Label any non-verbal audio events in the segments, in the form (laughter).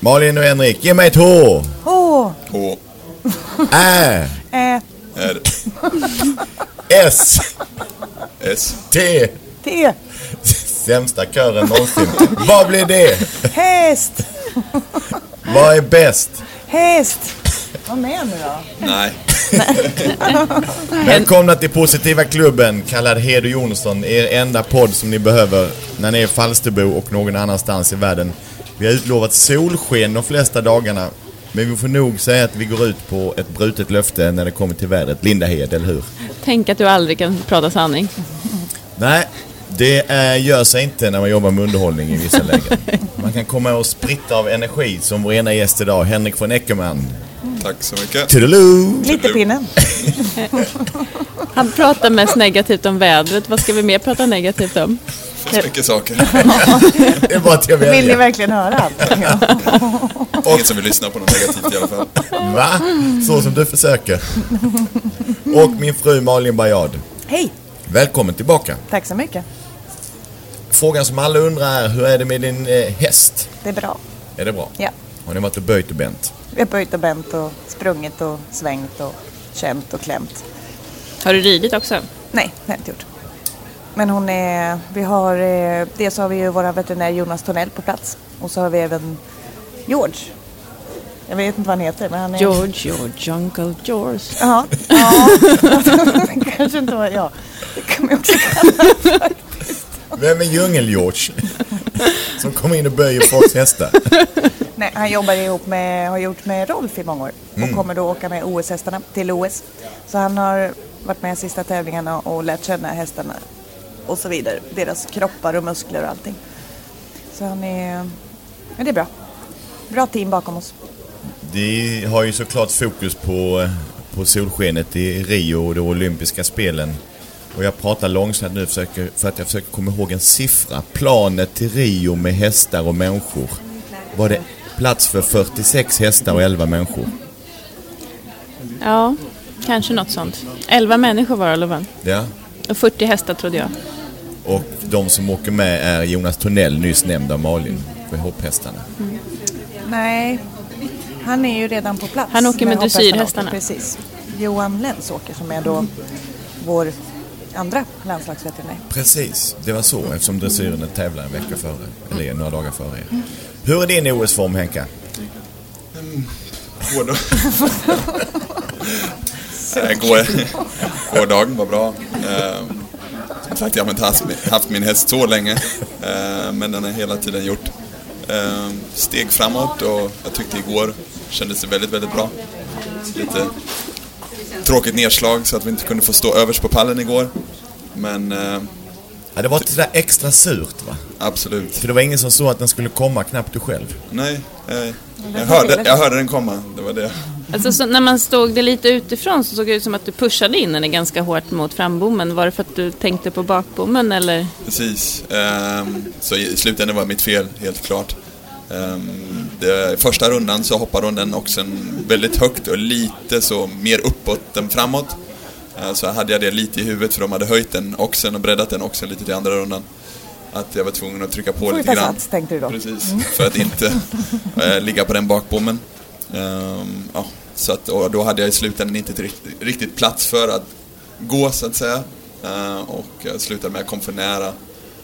Malin och Henrik, ge mig ett H! H, H. Ä! Ä, R. S! S. T! T, Sämsta kören någonsin. Vad blir det? häst, Vad är bäst? häst. Vad med nu då? Nej. Välkomna till Positiva Klubben, kallad Hed och Jonsson, er enda podd som ni behöver när ni är i Falsterbo och någon annanstans i världen. Vi har utlovat solsken de flesta dagarna, men vi får nog säga att vi går ut på ett brutet löfte när det kommer till vädret. Linda Hed, eller hur? Tänk att du aldrig kan prata sanning. Nej, det eh, gör sig inte när man jobbar med underhållning i (laughs) vissa lägen. Man kan komma och spritta av energi, som vår ena gäst idag, Henrik von Eckermann. Tack så mycket. Toodaloo! Glitterpinnen. Han pratar mest negativt om vädret. Vad ska vi mer prata negativt om? Så mycket saker. Det är bara att jag Vill ni väljer. verkligen höra allt? Ja. Ingen som vill lyssna på något negativt i alla fall. Va? Så som du försöker. Och min fru Malin Bajad. Hej, Välkommen tillbaka. tack så mycket. Frågan som alla undrar är, hur är det med din eh, häst? Det är bra. Är det bra? Ja. Har ni varit och böjt och bänt? Vi har böjt och bänt och sprungit och svängt och känt och klämt. Har du ridit också? Nej, det har jag inte gjort. Men hon är, vi har, eh, dels har vi ju vår veterinär Jonas Tornell på plats och så har vi även George. Jag vet inte vad han heter men han är... George, George, Uncle George. Ja. ja. (laughs) Kanske inte var jag. Det kan man också Vem är (laughs) Djungel-George? Som kommer in och böjer folks hästar. Nej, han jobbar ihop med, har gjort med Rolf i många år och kommer då åka med OS-hästarna till OS. Så han har varit med i sista tävlingarna och lärt känna hästarna och så vidare. Deras kroppar och muskler och allting. Så han är... Ja, det är bra. Bra team bakom oss. De har ju såklart fokus på, på solskenet i Rio och de olympiska spelen. Och jag pratar långsamt nu försöker, för att jag försöker komma ihåg en siffra. Planet till Rio med hästar och människor. Var det plats för 46 hästar och 11 människor? Ja, kanske något sånt. 11 människor var det, Lovan. Ja. Och 40 hästar trodde jag. Och de som åker med är Jonas Tornell, nyss nämnd av Malin, för hopphästarna. Nej, han är ju redan på plats. Han åker med hopphästarna dressyrhästarna. åker, Precis. Johan Lenz åker som är Mm. då vår andra landslagsveterinär. Precis, det var så eftersom dressyren tävlar en vecka före, eller några dagar före er. Hur är din OS-form Henka? Hårdag. Nej, går- Gårdagen var bra. Eh, Som sagt, jag har inte haft- haft min häst så länge. eh, Men den har hela tiden gjort eh, steg framåt och jag tyckte igår kändes det väldigt, väldigt bra. Lite tråkigt nedslag så att vi inte kunde få stå överst på pallen igår. Men eh, Ja, det var lite där extra surt va? absolut. För det var ingen som såg att den skulle komma, knappt du själv. Nej, nej. Jag, hörde, jag hörde den komma. Det var det. Alltså, så när man stod det lite utifrån så såg det ut som att du pushade in henne ganska hårt mot frambommen. Var det för att du tänkte på bakbommen eller? Precis. Ehm, så i i slutändan var det mitt fel, helt klart. Ehm, det, första rundan så hoppade hon den oxen väldigt högt och lite så mer uppåt än framåt. Ehm, så hade jag det lite i huvudet för de hade höjt den oxen och breddat den oxen lite till andra rundan. Att jag var tvungen att trycka på Får vi lite ta grann. sats tänkte du då. Precis, för att inte eh, ligga på den bakbommen. Ehm, ja, så att, och då hade jag i slutändan inte riktigt, riktigt plats för att gå så att säga. Ehm, och jag slutade med att jag kom för nära.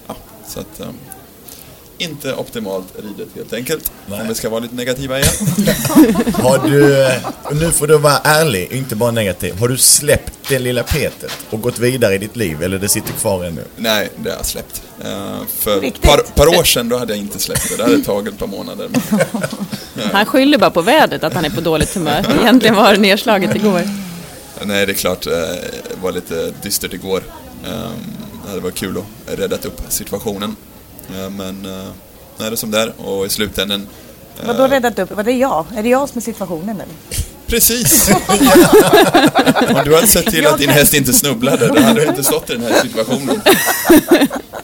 Ja, så att, ehm, inte optimalt ridet helt enkelt. Nej. Om vi ska vara lite negativa igen. Har du, eh, och nu får du vara ärlig, inte bara negativ. Har du släppt det lilla petet och gått vidare i ditt liv eller det sitter kvar ännu? Nej, det har jag släppt. Ehm, för ett Riktigt? par, par år sedan då hade jag inte släppt det. Det hade tagit ett par månader. Men Han skyller bara på vädret att han är på dåligt humör. Egentligen var det nedslaget igår. Nej, det är klart. eh, Det var lite dystert igår. Ehm, Det hade varit kul att ha räddat upp situationen. Eh, Men eh, nu är det som det är och i slutändan... eh, Vadå räddat upp? Var det jag? Är det jag som är situationen nu? (laughs) Precis! Om du hade sett till att din häst inte snubblade, då hade du inte stått i den här situationen.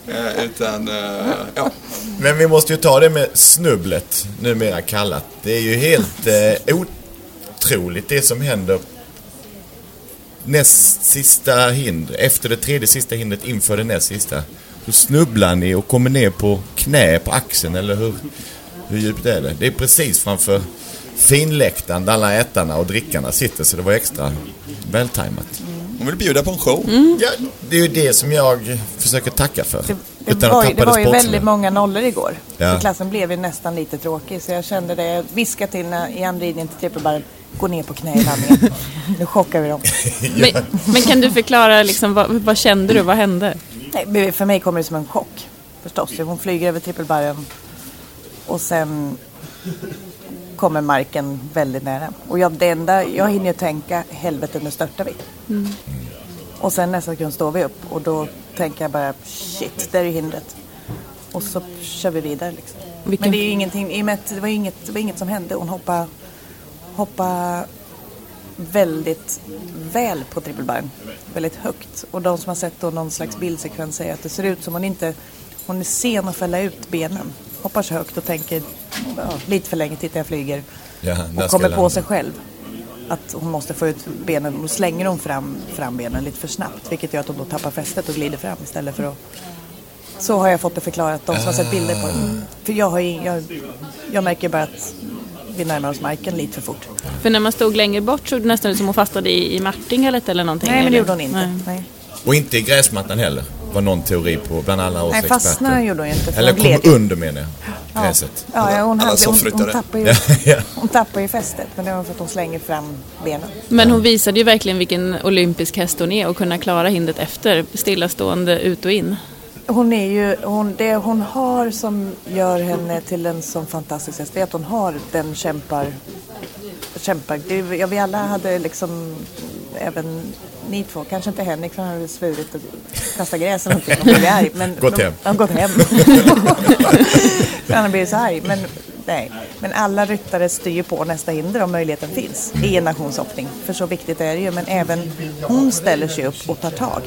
Eh, Utan, eh, ja. Men vi måste ju ta det med snubblet, numera kallat. Det är ju helt eh, otroligt det som händer näst sista hinder, efter det tredje sista hindret inför det näst sista. Då snubblar ni och kommer ner på knä på axeln, eller hur? Hur djupt är det? Det är precis framför finläktaren där alla ätarna och drickarna sitter så det var extra vältajmat. Mm. Hon vill bjuda på en show. Ja, det är ju det som jag försöker tacka för. Det, det, var, ju- det var ju sportsliga. väldigt många nollor igår. Ja. Så klassen blev ju nästan lite tråkig. Så jag kände det. Jag viskade till när, i anridningen till trippelbarren. Gå ner på knä i landningen. nu chockar vi dem. Men, men kan du förklara liksom, vad, vad kände du? Vad hände? Nej, men för mig kommer det som en chock. Förstås. Hon flyger över trippelbarren. Och sen kommer marken väldigt nära. Och jag, det enda, jag hinner ju tänka, helvete nu störtar vi. Och sen nästa sekund står vi upp och då tänker jag bara, shit, där är ju hindret. Och så kör vi vidare liksom. Vilken- Men det är ju ingenting, i och med att det var ju inget, det var inget som hände. Hon hoppade, hoppade väldigt väl på trippelbarren. Väldigt högt. Och de som har sett då någon slags bildsekvens säger att det ser ut som hon inte... Hon är sen att fälla ut benen. Hoppar så högt och tänker ja, lite för länge, titta jag flyger. Ja, när och ska kommer jag på landa? sig själv att hon måste få ut benen. Då slänger hon fram, fram benen lite för snabbt vilket gör att hon då tappar fästet och glider fram istället för att... Så har jag fått det förklarat, de som har Ah. sett bilder på det. För jag, har ju, jag, jag märker bara att vi närmar oss marken lite för fort. För när man stod längre bort såg det nästan ut som hon fastnade i, i martinglet eller någonting. Nej, men det eller? gjorde hon inte. Nej. Nej. Och inte i gräsmattan heller. Var någon teori på bland alla oss Nej, fastna experter. gjorde hon ju inte, för Eller hon gled kom under menar jag. Ja. Gräset. Ja, ja, hon, Alla hade, hon, hon, soffryttare. tappar ju, Ja, ja. hon tappar ju fästet, men det var för att hon slänger fram benen. Men hon visade ju verkligen vilken olympisk häst hon är och kunna klara hindret efter, stillastående ut och in. Hon är ju, hon, det hon har som gör henne till en sån fantastisk häst, det är att hon har den kämpar... kämpar. Det, är- ja, vi alla hade liksom, även ni två, kanske inte Henrik för han hade svurit och kastat gräs eller någonting och blivit arg. Men Gått hem. De, de, (laughs) gått hem. för han har blivit så arg. Men, nej. men alla ryttare styr ju på nästa hinder om möjligheten finns i en nationshoppning. För så viktigt är det ju. Men även hon ställer sig upp och tar tag.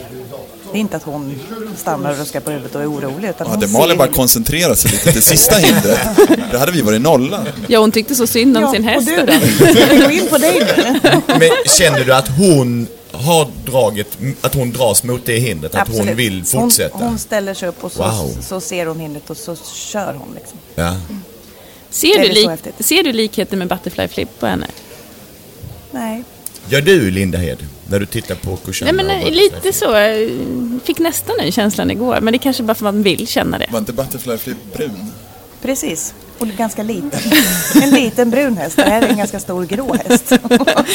Det är inte att hon stannar och ruskar på huvudet och är orolig. Utan hon Hade ser Malin bara hindret. koncentrerat sig lite till sista hindret, då hade vi varit nolla. Ja, hon tyckte så synd om sin Ja, och häst. du då? Ska vi gå in på dig nu? Men känner du att hon har draget, att hon dras mot det hindret? Att hon Absolut. vill fortsätta? Hon, hon ställer sig upp och så, Wow. så ser hon hindret och så kör hon. Liksom. Ja. Ser du, Väldigt lik, häftigt. ser du likheten med Butterfly Flip på henne? Nej. Gör du Linda Hed, när du tittar på Koshana? Nej, men eh, lite så. eh, Fick nästan den känslan igår, men det kanske bara för att man vill känna det. Var inte Butterfly Flip brun? Precis. Och (laughs) ganska liten. En liten brun häst. Det här är en ganska stor grå häst.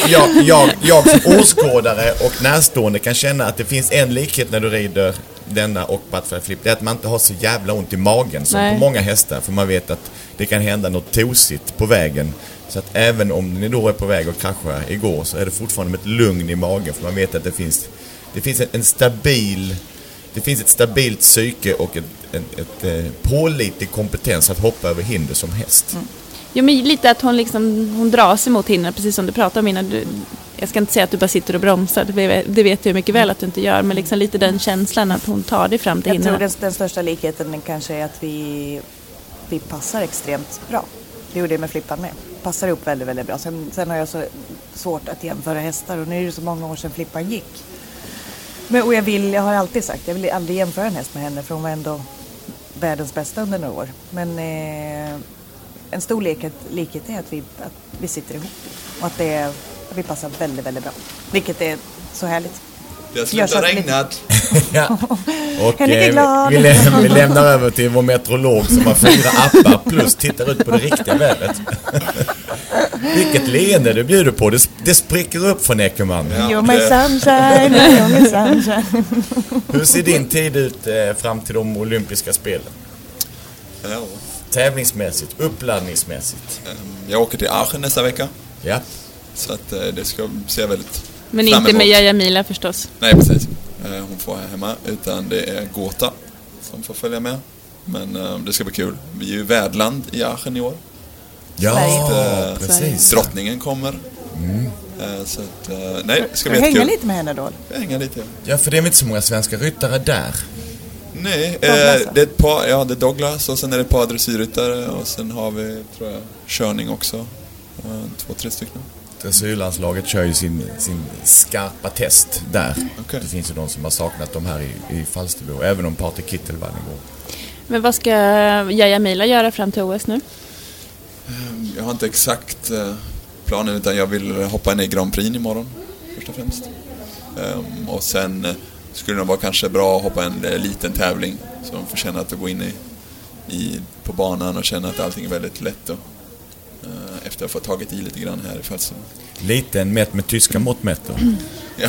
Jag, jag, jag som åskådare och närstående kan känna att det finns en likhet när du rider denna och Butterfly Flip. Det är att man inte har så jävla ont i magen som Nej. på många hästar. För man vet att det kan hända något tosigt på vägen. Så att även om ni då är på väg att krascha igår så är det fortfarande med ett lugn i magen. För man vet att det finns, det finns en, en stabil det finns ett stabilt psyke och ett, ett, ett, eh, pålitlig kompetens att hoppa över hinder som häst. Jo, men lite att hon, liksom, hon drar sig mot hindren, precis som du pratade om innan. Du, jag ska inte säga att du bara sitter och bromsar, det vet- det vet jag mycket väl att du inte gör, men liksom lite den känslan att hon tar dig fram till Jag tror hindren. den, den största likheten kanske är att vi, vi passar extremt bra. Det gjorde jag med Flippan med. Passar ihop väldigt, väldigt bra. Sen, sen har jag så svårt att jämföra hästar och nu är det så många år sedan Flippan gick. Men, och jag, vill, jag har alltid sagt, jag vill aldrig jämföra en häst med henne för hon var ändå världens bästa under några år. Men eh, en stor likhet, likhet är att vi, att vi sitter ihop och att, det, att vi passar väldigt, väldigt bra. Vilket är så härligt. Det har Jag slutat satt lite- regnat. Ja. Och, Henrik är eh, glad. Vi, vi, läm- vi lämnar över till vår meteorolog som har fyra appar plus tittar ut på det riktiga vädret. (laughs) Vilket leende du bjuder på. Det, sp- det spricker upp från Eckermann. Ja, You're my det- sunshine, you're my sunshine. Hur ser din tid ut eh, fram till de olympiska spelen? Ja. Tävlingsmässigt, uppladdningsmässigt. Jag åker till Aachen nästa vecka, Ja. så att eh, det ska se väldigt Men fram inte med emot. Yahya Mila förstås. Nej, precis. Eh, Hon får vara hemma, utan det är Gåta som får följa med. Men eh, det ska bli kul. Vi är ju värdland i Aachen i år. Ja, Sverige. precis. Drottningen kommer. Eh, Så att, eh, nej, det ska Ska bli vi hänga jättekul. lite med henne då? Jag hänger lite. ja. Ja, för det är väl inte så många svenska ryttare där. Nej, eh, Douglas, va? det är ett par, ja det är Douglas och sen är det ett par dressyrryttare och sen har vi, tror jag, körning också. Eh, Två, tre stycken. Dressyrlandslaget kör ju sin, sin skarpa test där. Okej. Det finns ju de som har saknat dem här i, i Falsterbo, även om Patrik Kittel vann igår. Men vad ska Yahya Mila göra fram till OS nu? Jag har inte exakt eh, planen utan jag vill hoppa in i Grand Prix imorgon först och främst. Ehm, och sen eh, skulle det vara kanske bra att hoppa en eh, liten tävling så de får känna att de går in i, i, på banan och känna att allting är väldigt lätt. Och, eh, efter att ha fått tagit i lite grann här i födseln. Liten mätt med tyska mått mätt då. Ja.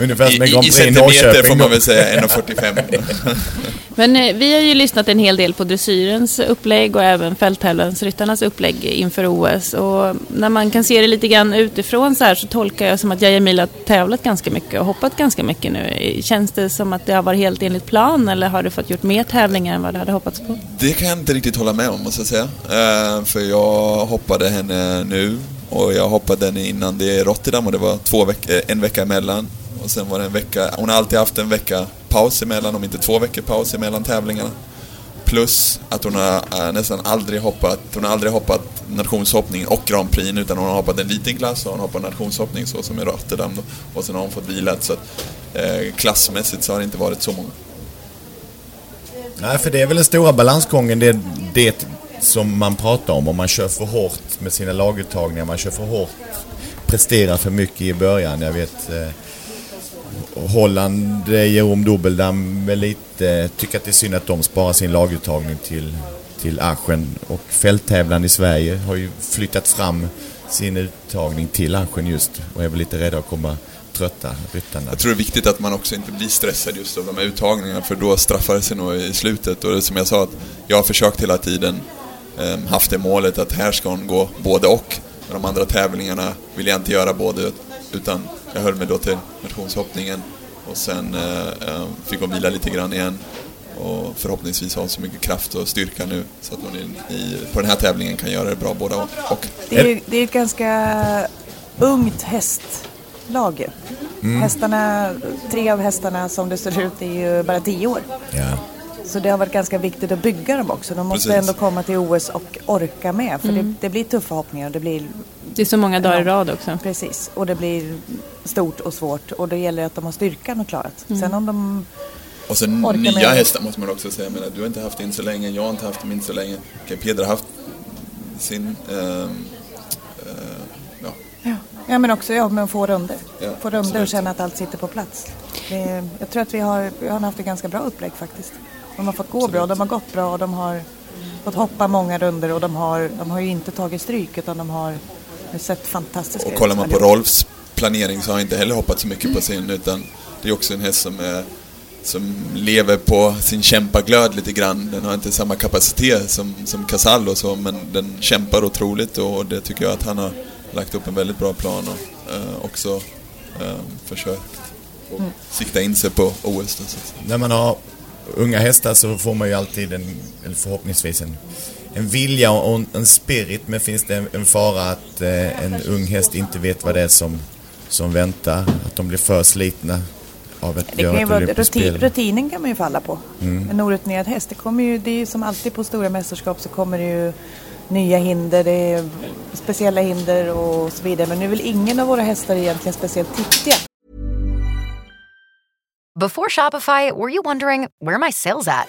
Ungefär I, som en Mm. Grand i, I Prix i centimeter Norrköping. får då. man väl säga 1,45. (laughs) Men eh, vi har ju lyssnat en hel del på dressyrens upplägg och även fälttävlansryttarnas upplägg inför OS. Och när man kan se det lite grann utifrån så här så tolkar jag som att Jajamil har tävlat ganska mycket och hoppat ganska mycket nu. Känns det som att det har varit helt enligt plan eller har du fått gjort mer tävlingar än vad du hade hoppats på? Det kan jag inte riktigt hålla med om måste jag säga. Eh, för jag hoppade henne nu och jag hoppade henne innan det i Rotterdam och det var två veck- eh, en vecka emellan. Och sen var det en vecka, hon har alltid haft en vecka paus emellan, om inte två veckor paus emellan tävlingarna. Plus att hon har eh, nästan aldrig hoppat, hon har aldrig hoppat nationshoppning och Grand Prix utan hon har hoppat en liten klass och hon hoppar nationshoppning så som i Rotterdam då. Och sen har hon fått vilat så att eh, klassmässigt så har det inte varit så många. Nej, för det är väl den stora balansgången. Det, det som man pratar om. Om man kör för hårt med sina laguttagningar. Man kör för hårt. Presterar för mycket i början. Jag vet... Eh, Holland, eh, Jerome Dobeldam väl lite... Tycker att det är synd att de sparar sin laguttagning till, till Aschen. Och fälttävlan i Sverige har ju flyttat fram sin uttagning till Aschen just. Och är väl lite rädda att komma trötta ryttarna. Jag tror det är viktigt att man också inte blir stressad just av de här uttagningarna för då straffar det sig nog i slutet. Och det är som jag sa, att jag har försökt hela tiden ehm, haft det målet att här ska hon gå både och. Men de andra tävlingarna vill jag inte göra både utan jag höll mig då till nationshoppningen och sen eh, eh, fick hon vila lite grann igen. Och förhoppningsvis har hon så mycket kraft och styrka nu så att hon i, i, på den här tävlingen kan göra det bra båda och. Det är, ju- det är ett ganska ungt hästlag. ju. Mm. Hästarna, tre av hästarna som det ser ut är ju bara tio år. Ja. Så det har varit ganska viktigt att bygga dem också. De måste Precis. ändå komma till OS och orka med. För det, det blir tuffa hoppningar och det blir Det är så många dagar i rad också. Precis, och det blir stort och svårt och det gäller att de har styrkan och klarat. Sen om de... Och sen Orkar nya med det. hästar måste man också säga. Jag menar, du har inte haft in så länge, jag har inte haft min så länge. Okej, Peder har haft sin... ehm, eh, ja. Ja men också ja, men få runder. Ja, få runder och absolut. känna att allt sitter på plats. Det, jag tror att vi har, vi har haft ett ganska bra upplägg faktiskt. De har fått gå bra, de har gått bra och de har fått hoppa många runder och de har, de har ju inte tagit stryk utan de har sett fantastiska Och kollar man på allihop. Rolfs planering så har han inte heller hoppat så mycket Mm. på sin utan det är också en häst som, är, som lever på sin kämpaglöd lite grann. Den har inte samma kapacitet som, som Casall och så men den kämpar otroligt och det tycker jag att han har lagt upp en väldigt bra plan och eh, också eh, försökt att Mm. sikta in sig på OS. Då, så att säga. när man har unga hästar så får man ju alltid en, eller förhoppningsvis en, en vilja och en, en spirit. Men finns det en, en fara att eh, en ung häst inte vet vad det är som, som väntar? Att de blir för slitna av att Det kan göra ju ett vara, olympiskt rutin, spel? rutinen kan man ju falla på. Mm. En orutinerad häst, det, kommer ju, det är ju som alltid på stora mästerskap så kommer det ju nya hinder, det är speciella hinder och så vidare. Men nu är väl ingen av våra hästar egentligen speciellt tittiga. Before Shopify, were you wondering where are my sales at?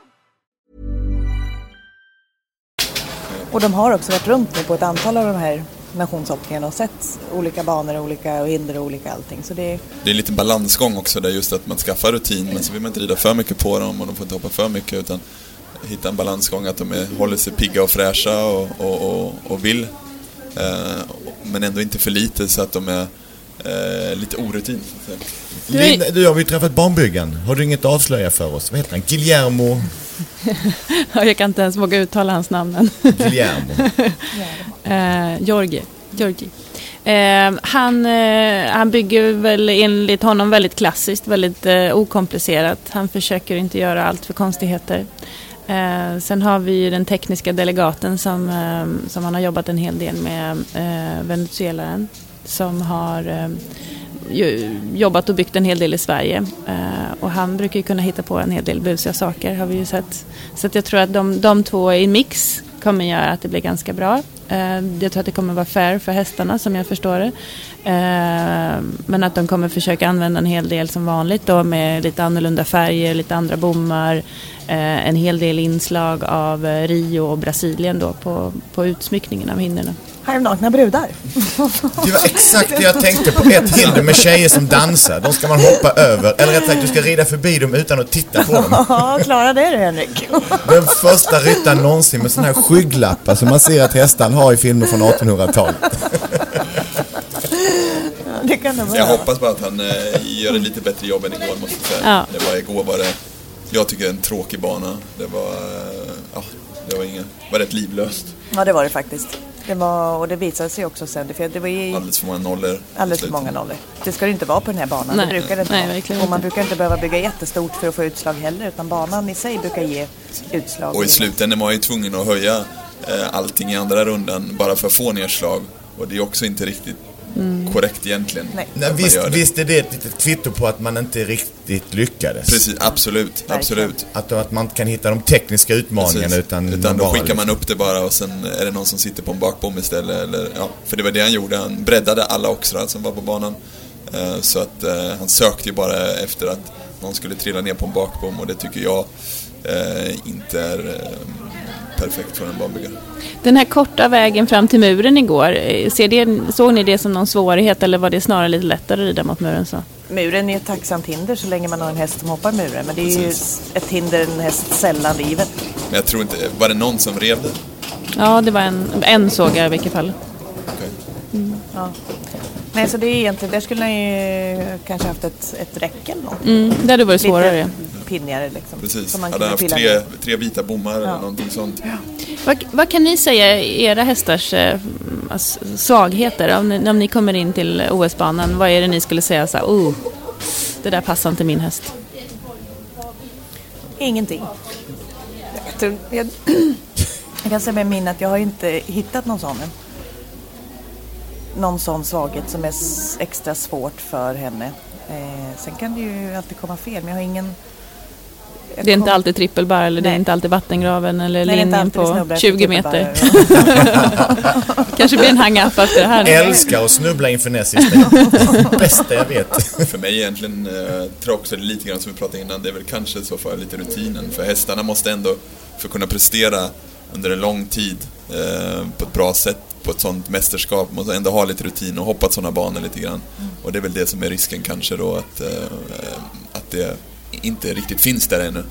Och de har också varit runt nu på ett antal av de här nationshoppningarna och sett olika banor, och olika hinder och olika allting. Så det är, Det är lite balansgång också där just att man skaffar rutin men så vill man inte rida för mycket på dem och de får inte hoppa för mycket utan hitta en balansgång att de är, håller sig pigga och fräscha och, och, och, och vill eh, men ändå inte för lite så att de är eh, lite orutin. så att säga. Linn, du har vi träffat barnbyggaren. Har du inget att avslöja för oss? Vad heter han? Guillermo? (laughs) Ja, Jag kan inte ens våga uttala hans namn än. (laughs) Guillermo. Eh, Georgi. Georgi. Eh, han, eh, han bygger väl enligt honom väldigt klassiskt, väldigt eh, okomplicerat. Han försöker inte göra allt för konstigheter. Eh, Eh, sen har vi ju den tekniska delegaten som, eh, som han har jobbat en hel del med, eh, venezuelaren, som har eh, ju, jobbat och byggt en hel del i Sverige. Eh, och han brukar ju kunna hitta på en hel del busiga saker har vi ju sett. Så att jag tror att de, de två i en mix kommer göra att det blir ganska bra. Eh, jag tror att det kommer vara fair för hästarna som jag förstår det. Eh, men att de kommer försöka använda en hel del som vanligt då med lite annorlunda färger, lite andra bommar, eh, en hel del inslag av eh, Rio och Brasilien då på, på utsmyckningen av hinderna. Halvnakna (laughs) brudar. Det var exakt det jag tänkte på. Ett hinder med tjejer som dansar. De ska man hoppa över. Eller rätt sagt, du ska rida förbi dem utan att titta på dem. Ja, klara det du (laughs) Henrik. Den första ryttaren någonsin med sådana här skygglappar som man ser att hästan har i filmer från 1800-talet. Det kan det Jag vara. hoppas bara att han eh, gör ett lite bättre jobb än igår måste jag säga. Ja. Det var igår var det, jag tycker en tråkig bana. Det var, eh, ja, det var inget, det var rätt livlöst. Ja, det var det faktiskt. Det var, och det visade sig också sen, för det var ju Alldeles för många nollor. på alldeles för slutet. många nollor. Det ska det inte vara på den här banan, Nej, det brukar det inte nej, verkligen vara. Och man inte. brukar inte behöva bygga jättestort för att få utslag heller, utan banan i sig brukar ge utslag. Och i slutändan var jag ju tvungen att höja eh, allting i andra rundan bara för att få nedslag. Och det är också inte riktigt korrekt egentligen. Nej. att Nej, man visst, gör det. visst är det ett litet kvitto på att man inte riktigt lyckades. Precis, absolut, absolut. Att, att man inte kan hitta de tekniska utmaningarna Precis. utan... liksom. utan då bara- skickar man upp det bara och sen är det någon som sitter på en bakbom istället. Eller, ja, för det var det han gjorde, han breddade alla oxrar som var på banan. Eh, Så att eh, han sökte ju bara efter att någon skulle trilla ner på en bakbom och det tycker jag eh, inte är eh, perfekt för en banbyggare. Den här korta vägen fram till muren igår, eh, ser det, såg ni det som någon svårighet eller var det snarare lite lättare att rida mot muren? Så? Muren är ett tacksamt hinder så länge man har en häst som hoppar muren, men det är ju ett hinder en häst sällan river. Men jag tror inte, var det någon som rev det? Ja, det var en, en såg jag i vilket fall. Okej. Nej, så det är egentligen, där skulle man ju kanske haft ett, ett räcke eller något. Mm, det hade varit svårare. Lite pinnigare liksom. Precis, som man kunde hade han haft pilla tre, med. tre vita bommar eller någonting sånt. Vad, vad kan ni säga är era hästars eh, s- svagheter? Om ni, om ni kommer in till OS-banan, vad är det ni skulle säga så här, oh, det där passar inte min häst? Ingenting. Jag, tror, jag, (clears throat) jag kan säga med min att jag har inte hittat någon sån än. Någon sån svaghet som är s- extra svårt för henne. Eh, sen kan det ju alltid komma fel, men jag har ingen... jag Det är inte kom- alltid trippelbar eller det är Nej. inte alltid vattengraven eller Nej, det är inte linjen alltid vi på snubblar 20 på meter. tuppar. Kanske blir en hang-up efter det här. nu. Älskar att snubbla inför näst sista. (laughs) Bästa jag vet. För mig egentligen, eh, tror jag också det är lite grann som vi pratade innan, det är väl kanske i så för lite rutinen. För hästarna måste ändå, för att kunna prestera under en lång tid eh, på ett bra sätt på ett sånt mästerskap, måste ändå ha lite rutin och hoppa sådana banor lite grann. Och det är väl det som är risken kanske då att, eh, att det inte riktigt finns där ännu.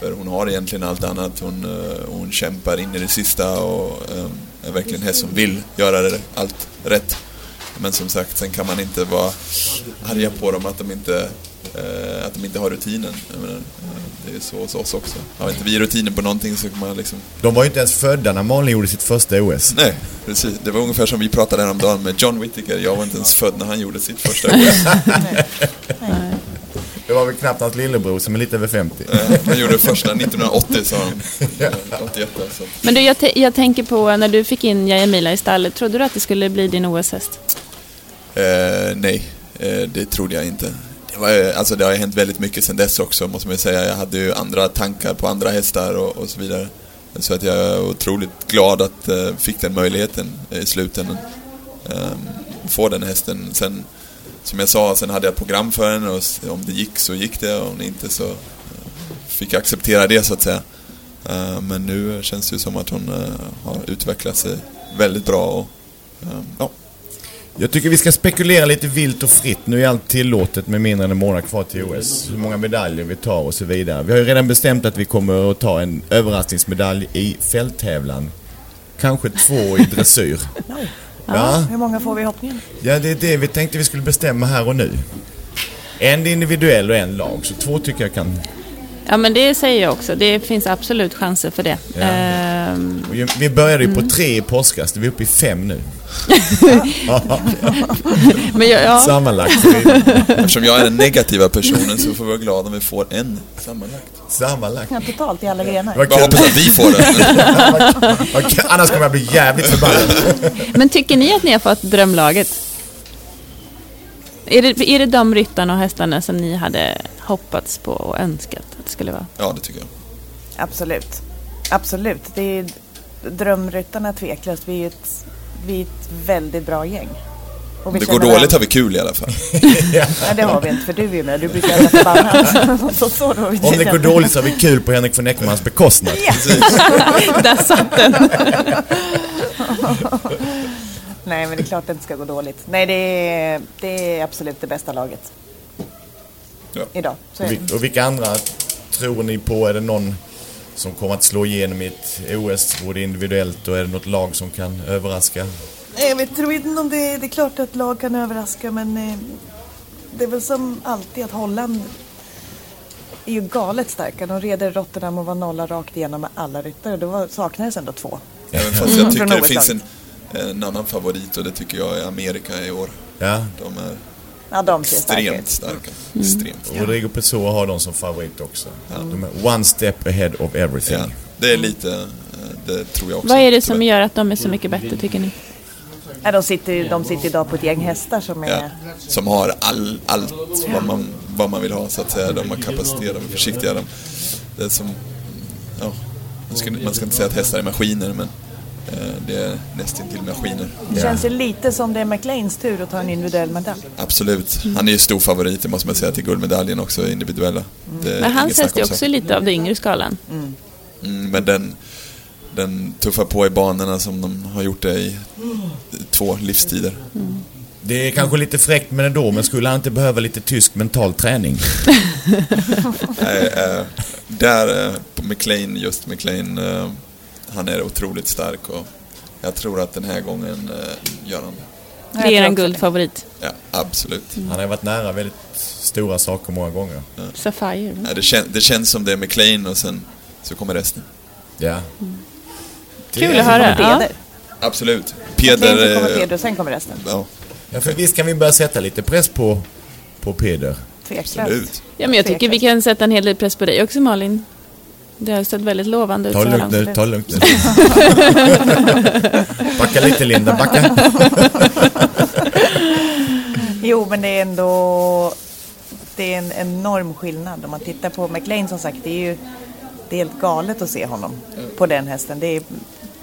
För hon har egentligen allt annat, hon, eh, hon kämpar in i det sista och eh, är verkligen häst som vill göra det, allt rätt. Men som sagt, sen kan man inte vara arga på dem att de inte, eh, att de inte har rutinen. Jag menar, eh, det är så hos oss också. Har inte vi rutinen på någonting så kan man liksom... De var ju inte ens födda när Malin gjorde sitt första OS. Nej, precis. Det var ungefär som vi pratade häromdagen med John Whittaker. Jag var inte ens född när han gjorde sitt första OS. Det var väl knappt hans lillebror som är lite över 50. Eh, Han gjorde det första 1980, sa han. Eh, 81 alltså. Men du, jag, te- jag tänker på när du fick in Jajamila i stallet, trodde du att det skulle bli din OS-häst? Eh, nej, eh, det trodde jag inte. Det, var, eh, alltså, det har ju hänt väldigt mycket sedan dess också, måste man ju säga. Jag hade ju andra tankar på andra hästar och, och så vidare. Så att jag är otroligt glad att eh, fick den möjligheten eh, i slutändan. Eh, få den hästen. Sen, som jag sa, sen hade jag ett program för den och s- om det gick så gick det och om det inte så eh, fick jag acceptera det så att säga. Eh, men nu känns det ju som att hon eh, har utvecklat sig väldigt bra och eh, ja, Jag tycker vi ska spekulera lite vilt och fritt. Nu är allt tillåtet med mindre än en månad kvar till OS. Hur många medaljer vi tar och så vidare. Vi har ju redan bestämt att vi kommer att ta en överraskningsmedalj i fälttävlan. Kanske två i dressyr. Ja, Hur många får vi i hoppningen? ja, det är det vi tänkte vi skulle bestämma här och nu. En individuell och en lag, så två tycker jag kan... Ja, men det säger jag också. Det finns absolut chanser för det. Ja. Eh, Ehm, Och ju- Vi började ju på tre i påskas, vi är uppe i fem nu. men jag, ja, Sammanlagt. Vi, Eftersom jag är den negativa personen så får vi vara glada om vi får en sammanlagt. sammanlagt. Ja, totalt i alla grenar. Vad Bara kul. hoppas att vi får den. (laughs) Vad kul. Annars kommer jag bli jävligt förbannad. men tycker ni att ni har fått drömlaget? Är det, är det de ryttarna och hästarna som ni hade hoppats på och önskat att det skulle vara? Ja, det tycker jag. Absolut. Absolut. Det är drömryttarna tveklöst. Vi är ju ett, vi är ett väldigt bra gäng. Och vi Det känner går dåligt varandra. har vi kul i alla fall. Nej, det har vi inte för du är ju med. Du brukar vara förbannad. så, så då, Om det går dåligt så har vi kul på Henrik von Eckermans bekostnad. (laughs) Där satt den! Nej, men det är klart det inte ska gå dåligt. Nej, det är, det är absolut det bästa laget. Ja. Idag. Så är Och, det. vil- och vilka andra tror ni på? Är det någon som kommer att slå igenom i ett OS, både individuellt och är det något lag som kan överraska? Nej, Eh, Jag vet, tror inte om det, det är klart att lag kan överraska men eh, det är väl som alltid att Holland är ju galet starka. De reder Rotterdam och var nolla rakt igenom med alla ryttare. Då var, saknades ändå två. Även fast Mm. jag tycker Från det finns en, en annan favorit och det tycker jag är Amerika i år. Ja, De är Ja, de ser starka extremt ut. starka. Mm. Extremt starka. Rodrigo Pessoa har dem som favorit också. De är one step ahead of everything. Ja, det är lite, eh, det tror jag också. Vad är det som gör att de är så mycket bättre tycker ni? Nej, de, sitter, ju- de sitter idag på ett gäng hästar som är... Ja, som har all, allt vad man, vad man vill ha så att säga. De har kapacitet, de är försiktiga. De, det är som, ja, man, ska, man ska inte säga att hästar är maskiner men eh, det är nästintill maskiner. Det känns ju lite som det är McLeans tur att ta en individuell medalj. Absolut. Mm. Han är ju stor favorit, det måste man säga, till guldmedaljen också, individuella. Mm. Det är Men inget hans snack häst är om också saken. lite av den yngre skalan. Mm, men den, den tuffar på i banorna som de har gjort det i två livstider. Det är kanske lite fräckt men ändå, men skulle han inte behöva lite tysk mental träning? Mm. Nej, eh, där eh, på McLean, just McLean, eh, han är otroligt stark och jag tror att den här gången eh, gör han det. Det är tror en också guldfavorit. Ja, absolut. Mm. Han har varit nära väldigt stora saker många gånger. Sapphire. Ja, det, kän, det känns som det är McLean och sen så kommer resten. Ja. Kul att höra. Ja. Peder. Absolut. McLean Peder... så kommer eh, Peder och sen kommer resten. Ja, Ja, för visst kan vi börja sätta lite press på, på Peder? Tveklöst. absolut. Ja, men jag tycker vi kan sätta en hel del press på dig också Malin. Det har sett väldigt lovande ut Ta så det här lugnt nu, långt. ta det (laughs) lugnt nu. backa lite Linda, backa. Jo, men det är ändå det är en enorm skillnad. Om man tittar på McLean som sagt, det är ju det är helt galet att se honom på den hästen. Det, är,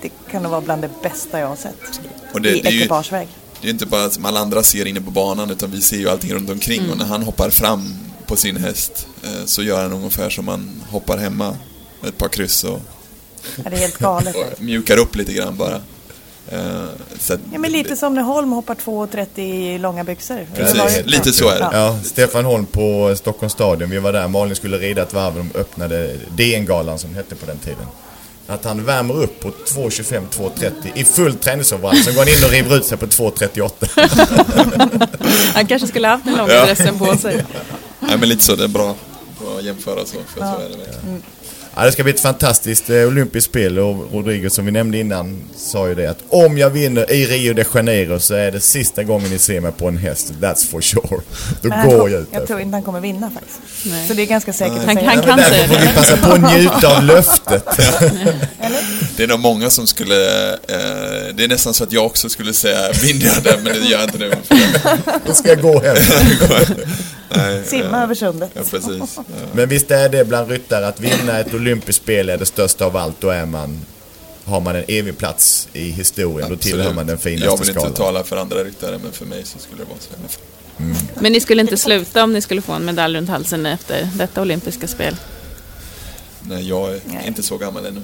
det kan nog vara bland det bästa jag har sett Och det, i det är ju ekipageväg. det är inte bara som alla andra ser inne på banan utan vi ser ju allting runt omkring och Mm. när han hoppar fram på sin häst eh, så gör han ungefär som man hoppar hemma ett par kryss och, Ja, det är helt (laughs) galet. och mjukar upp lite grann bara. Eh, Så att, Ja, men lite som när Holm hoppar 2,30 i långa byxor. Precis, Det var ju- lite så är det. Ja. Ja, Stefan Holm på Stockholms stadion. Vi var där. Malin skulle rida ett varv. De öppnade DN-galan som hette på den tiden. Att han värmer upp på 2.25, 2.30 i full träningsoverall. Sen går han in och river ut sig på 2.38. Han kanske skulle ha haft den långa dressen på sig. Nej men lite så, det är bra, bra att jämföra så. För så är det verkligen. Mm. Ja, det ska bli ett fantastiskt eh, olympiskt spel och Rodrigo som vi nämnde innan sa ju det att om jag vinner i Rio de Janeiro så är det sista gången ni ser mig på en häst. That's for sure. Då Men han går kom- jag ut jag tror därifrån. inte han kommer vinna faktiskt. Nej. Så det är ganska säkert att Han, säga. han kan säga Därför får vi det. passa på att njuta av löftet. Det är nog många som skulle, eh, det är nästan så att jag också skulle säga (laughs) vinner jag det, men det gör jag inte nu. (laughs) För jag- Då ska jag gå hem. Simma över sundet. Ja, precis. Men visst är det bland ryttare att vinna ett olympiskt spel är det största av allt. Då är man, har man en evig plats i historien. Då tillhör man den Jag finaste vill inte skalan. tala för andra ryttare, men för mig så skulle det vara så. i alla fall. Men ni skulle inte sluta om ni skulle få en medalj runt halsen efter detta olympiska spel. Nej, jag är Nej. inte så gammal ännu.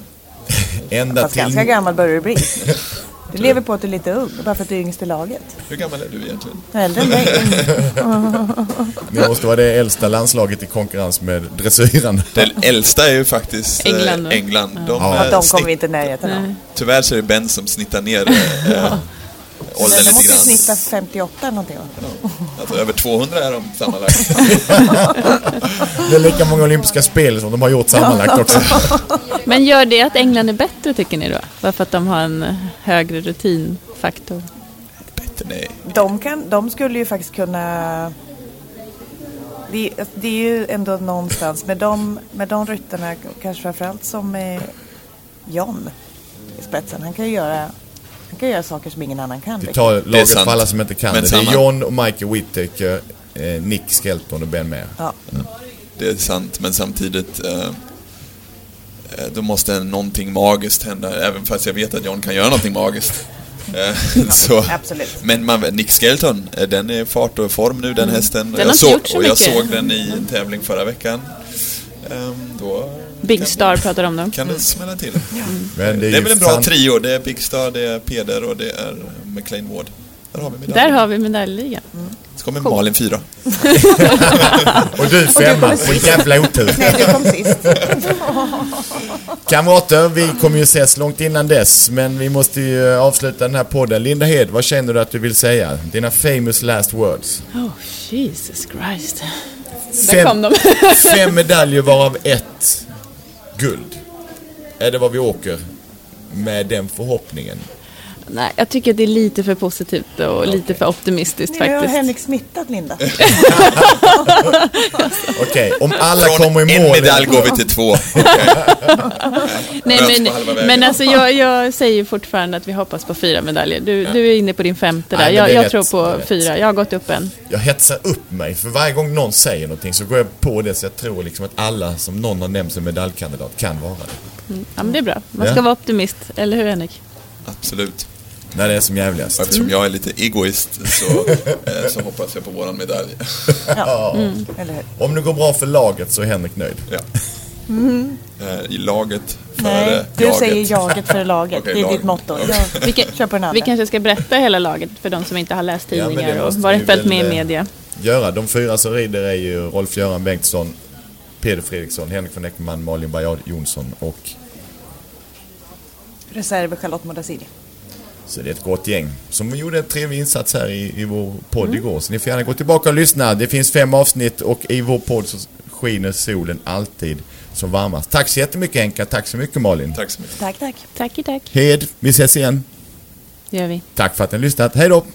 Ända Fast till... ganska gammal börjar (laughs) du bli. Du lever på att du är lite ung, bara för att du är yngst i laget. Hur gammal är du egentligen? Äldre än (laughs) dig. Ni måste vara det äldsta landslaget i konkurrens med dressyren. Den äldsta är ju faktiskt eh, England, va? England. De, Ja. eh, Ja, de kommer snitt- vi inte i närheten av. (laughs) Tyvärr så är det Ben som snittar ner eh, eh, ålder Men de lite måste ju grann. snitta 58 eller någonting. va? Alltså, över 200 är de (laughs) sammanlagt. Det är lika många olympiska spel som de har gjort sammanlagt också. Men gör det att England är bättre tycker ni då? Bara för att de har en högre rutinfaktor? Bättre, nej. De, kan, de skulle ju faktiskt kunna... Det, det är ju ändå någonstans med de, med de ryttarna, kanske framförallt som eh, John i spetsen. Han kan ju göra, han kan göra saker som ingen annan kan. Vi liksom. tar laget sant. för alla som inte kan Men det. Det samma. är John och Michael Whittaker, eh, Nick Skelton och Ben Mair. Ja. Det är sant, men samtidigt eh, eh, då måste någonting magiskt hända, även fast jag vet att John kan göra (laughs) någonting magiskt. Eh, (laughs) så. absolut. Men man, Nick Skelton, eh, den är i fart och form nu Mm. den hästen. Och har jag, inte såg, gjort så och jag mycket. såg den i en tävling förra veckan. Ehm, då Big kan- Star pratar om dem. Kan Mm. det smälla till. Men det är, Det är ju väl en bra fan- trio, det är Big Star, det är Peder och det är eh, McLean Ward. Där har vi Där medaljen. har vi medaljligan. Så kommer Malin fyra. Och du femma, kommer och jävla otur. Nej, du kom sist. (laughs) Kamrater, vi kommer ju ses långt innan dess, men vi måste ju eh, avsluta den här podden. Linda Hed, vad känner du att du vill säga? Dina famous last words. Oh, Jesus Christ. Där Fem- kom de. (laughs) Fem medaljer varav ett guld. Är det vad vi åker med den förhoppningen? Nej, jag tycker att det är lite för positivt och lite för optimistiskt Nu har faktiskt. Henrik smittat (laughs) Linda. Okej, om alla Från kommer i en mål... medalj går vi till två. Möts Nej, på halva men, vägen. men alltså jag, jag säger ju fortfarande att vi hoppas på fyra medaljer. Du, du är inne på din femte där. Nej, men jag det är jag rätt. tror Det är på rätt. fyra. Jag har gått upp en. Jag hetsar upp mig, för varje gång någon säger någonting så går jag på det så jag tror liksom att alla som någon har nämnt som medaljkandidat kan vara det. Ja, men det är bra. Man Ja. ska vara optimist, eller hur Henrik? Absolut. När det är som jävligast. Och Eftersom jag är lite egoist så, eh, så hoppas jag på våran medalj. (laughs) Ja. Eller hur? Om det går bra för laget så är Henrik nöjd. Ja. Eh, I laget före Mm. Nej, du jaget. säger jaget för laget. (laughs) Okej, det är laget. ditt motto. Ja. Ja. Vi, kan, Kör på den andra. vi kanske ska berätta hela laget för de som inte har läst Ja, men det tidningar och måste vi varit följt med i väl, eh, media. göra. De fyra som rider är ju Rolf-Göran Bengtsson, Peder Fredriksson, Henrik von Eckermann, Malin Bajard Jonsson och... Reserv Charlotte Modasili. Så det är ett gott gäng som gjorde en trevlig insats här i, i vår podd igår. Så ni får gärna gå tillbaka och lyssna. Det finns fem avsnitt och i vår podd så skiner solen alltid som varmast. Tack så jättemycket Henka, tack så mycket Malin. Tack så mycket. Tack, tack. Tack, tack. Hed, vi ses igen. Det gör vi. Tack för att ni har lyssnat. Hej då!